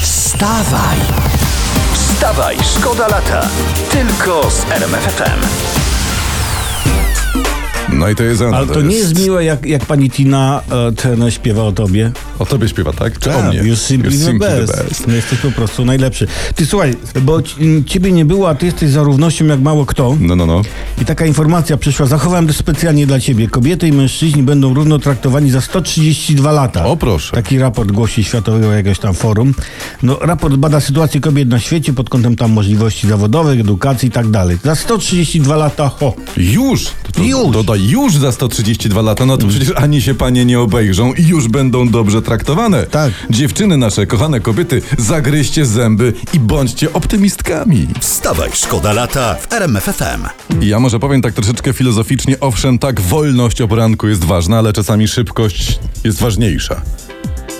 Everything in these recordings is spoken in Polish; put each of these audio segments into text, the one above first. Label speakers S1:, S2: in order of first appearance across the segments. S1: Wstawaj! Wstawaj, szkoda lata. Tylko z RMFFM.
S2: No i to jest ona.
S3: Ale to nie jest miłe, jak, jak pani Tina e, Turner śpiewa o tobie.
S2: O tobie śpiewa, tak? Czy o mnie?
S3: Już simply,
S2: You're
S3: the, best. No, jesteś po prostu najlepszy. Ty słuchaj, bo ci- m, ciebie nie było, a ty jesteś za równością jak mało kto.
S2: No, no, no.
S3: I taka informacja przyszła, zachowałem to specjalnie dla ciebie. Kobiety i mężczyźni będą równo traktowani za 132 lata.
S2: O, proszę.
S3: Taki raport głosi Światowego jakiegoś tam forum. No, raport bada sytuację kobiet na świecie pod kątem tam możliwości zawodowych, edukacji i tak dalej. Za 132 lata, ho.
S2: Już! To, to,
S3: Już. Mm.
S2: Dodaj, już za 132 lata, no to przecież ani się panie nie obejrzą i już będą dobrze traktowane.
S3: Tak.
S2: Dziewczyny nasze, kochane kobiety, zagryźcie zęby i bądźcie optymistkami.
S1: Wstawaj, szkoda lata w RMFFM.
S2: I Ja może powiem tak troszeczkę filozoficznie, owszem, tak, wolność o poranku jest ważna, ale czasami szybkość jest ważniejsza.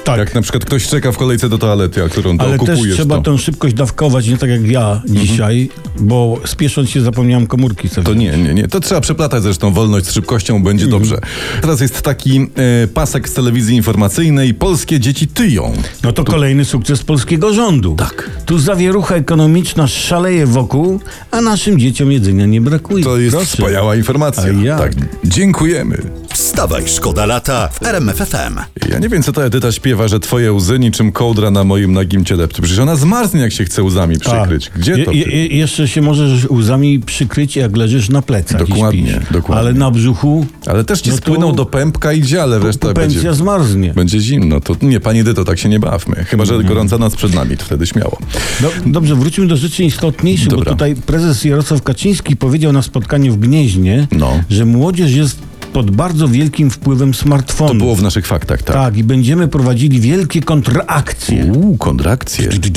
S3: Tak.
S2: Jak na przykład ktoś czeka w kolejce do toalety, a którą to
S3: Ale też
S2: okupujesz,
S3: trzeba
S2: to... Mhm.
S3: tą szybkość dawkować, nie tak jak ja dzisiaj, bo spiesząc się zapomniałem komórki sobie.
S2: To nie, nie, nie. To trzeba przeplatać zresztą wolność z szybkością, będzie
S3: Mhm.
S2: dobrze. Teraz jest taki e, pasek z telewizji informacyjnej. Polskie dzieci tyją.
S3: No to kolejny sukces polskiego rządu.
S2: Tak.
S3: Tu zawierucha ekonomiczna szaleje wokół, a naszym dzieciom jedzenia nie brakuje.
S2: To jest
S3: Proszę.
S2: wspaniała informacja.
S3: A jak?
S2: Tak, dziękujemy.
S1: Wstawaj, szkoda lata w RMFFM.
S2: Ja nie wiem, co ta Edyta śpiewa, że twoje łzy niczym kołdra na moim nagim ciele. Przecież ona zmarznie, jak się chce łzami przykryć.
S3: Tak.
S2: Gdzie to?
S3: Je, je, jeszcze się możesz łzami przykryć, jak leżysz na plecach
S2: Dokładnie,
S3: i śpisz.
S2: dokładnie.
S3: Ale na brzuchu
S2: Ale też ci
S3: No to-
S2: spłyną do pępka i dziale. Reszta
S3: pensja
S2: będzie...
S3: zmarznie.
S2: Będzie zimno. To nie, pani Edyto, tak się nie bawmy. Chyba, że
S3: Mhm.
S2: gorąca noc przed nami. To wtedy śmiało.
S3: Do, No, dobrze, wróćmy do rzeczy istotniejszych, bo
S2: Dobra.
S3: tutaj prezes Jarosław Kaczyński powiedział na spotkaniu w Gnieźnie,
S2: No.
S3: że młodzież jest pod bardzo wielkim wpływem smartfonu.
S2: To było w naszych faktach, tak?
S3: Tak, i będziemy prowadzili wielkie kontrakcje.
S2: Uuu, kontrakcje. Ty,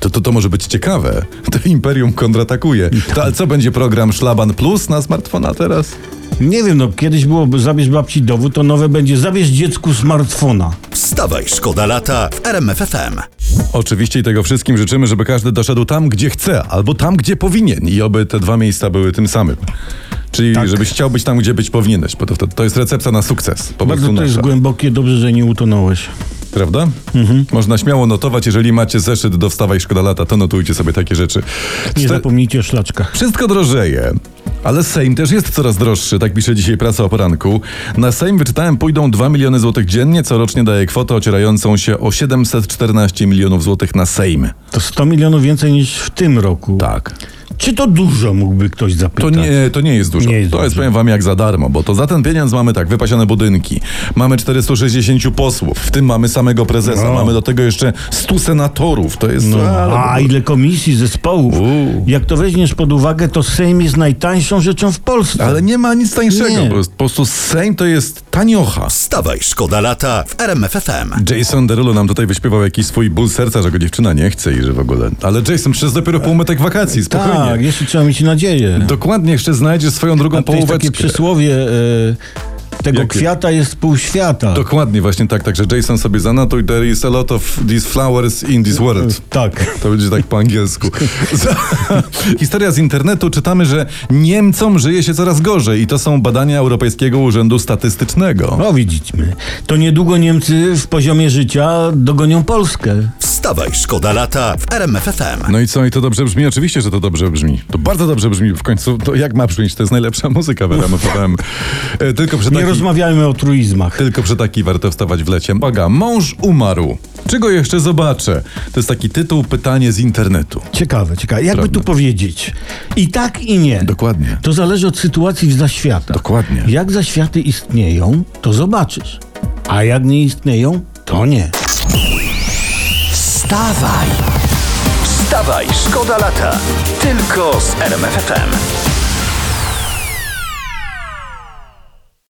S2: To, to, to może być ciekawe. To Imperium kontratakuje.
S3: tak.
S2: To, ale co będzie program Szlaban Plus na smartfona teraz?
S3: Nie wiem, no kiedyś było zabierz babci dowód, to nowe będzie zabierz dziecku smartfona.
S1: Wstawaj, szkoda lata w RMFFM.
S2: Oczywiście i tego wszystkim życzymy, żeby każdy doszedł tam, gdzie chce, albo tam, gdzie powinien. I oby te dwa miejsca były tym samym. Czyli
S3: Tak.
S2: żebyś chciał być tam, gdzie być powinieneś, bo to, to, to jest recepta na sukces. Po
S3: Bardzo
S2: prostu
S3: to jest
S2: nasza.
S3: głębokie, dobrze, że nie utonąłeś.
S2: Prawda?
S3: Mhm.
S2: Można śmiało notować, jeżeli macie zeszyt do wstawaj szkoda lata, to notujcie sobie takie rzeczy.
S3: Nie
S2: Czte-
S3: zapomnijcie o szlaczkach.
S2: Wszystko drożeje. Ale Sejm też jest coraz droższy, tak pisze dzisiaj prasa o poranku. Na Sejm wyczytałem pójdą 2 miliony złotych dziennie, co rocznie daje kwotę ocierającą się o 714 milionów złotych na Sejm.
S3: To 100 milionów więcej niż w tym roku.
S2: Tak.
S3: Czy to dużo, mógłby ktoś
S2: To
S3: zapytać?
S2: nie, to nie jest dużo.
S3: Nie jest
S2: to jest,
S3: dużo.
S2: powiem wam, jak za darmo, bo to za ten pieniądz mamy tak, wypasione budynki, mamy 460 posłów, w tym mamy samego prezesa,
S3: No.
S2: mamy do tego jeszcze 100 senatorów, to jest...
S3: No, a ile komisji, zespołów.
S2: Uuu.
S3: Jak to weźmiesz pod uwagę, to Sejm jest najtańszą rzeczą w Polsce.
S2: Ale nie ma nic tańszego,
S3: Nie.
S2: po prostu- po prostu Sejm to jest taniocha.
S1: Wstawaj, szkoda lata w RMFFM.
S2: Jason Derulo nam tutaj wyśpiewał jakiś swój ból serca, że go dziewczyna nie chce i że w ogóle. Ale Jason, przecież dopiero półmetek wakacji, spokojnie.
S3: tak, jeszcze trzeba mieć nadzieję.
S2: Dokładnie, jeszcze znajdziesz swoją drugą
S3: A to jest
S2: połóweczkę.
S3: takie przysłowie e, tego
S2: Jakie?
S3: kwiata jest pół świata.
S2: Dokładnie, właśnie tak, także Jason sobie zanotuj, there is a lot of these flowers in this world.
S3: Tak.
S2: To będzie tak po angielsku. Za- Historia z internetu. Czytamy, że Niemcom żyje się coraz gorzej i to są badania Europejskiego Urzędu Statystycznego.
S3: No widzimy. To niedługo Niemcy w poziomie życia dogonią Polskę.
S1: Wstawaj, szkoda lata w RMFFM.
S2: No i co, i to dobrze brzmi? Oczywiście, że to dobrze brzmi. To bardzo dobrze brzmi. W końcu, to jak ma brzmieć? To jest najlepsza muzyka w RMFM. E, Tylko przy
S3: Nie
S2: taki,
S3: rozmawiajmy o truizmach.
S2: tylko przy taki warto wstawać w lecie. Uwaga, mąż umarł. Czego jeszcze zobaczę? To jest taki tytuł, pytanie z internetu.
S3: Ciekawe, ciekawe. Jakby
S2: Prawda.
S3: tu powiedzieć? I tak, i nie.
S2: Dokładnie.
S3: To zależy od sytuacji w zaświatach.
S2: Dokładnie.
S3: Jak zaświaty istnieją, to zobaczysz. A jak nie istnieją, to nie.
S1: Wstawaj! Wstawaj, szkoda lata! Tylko z RMFFM.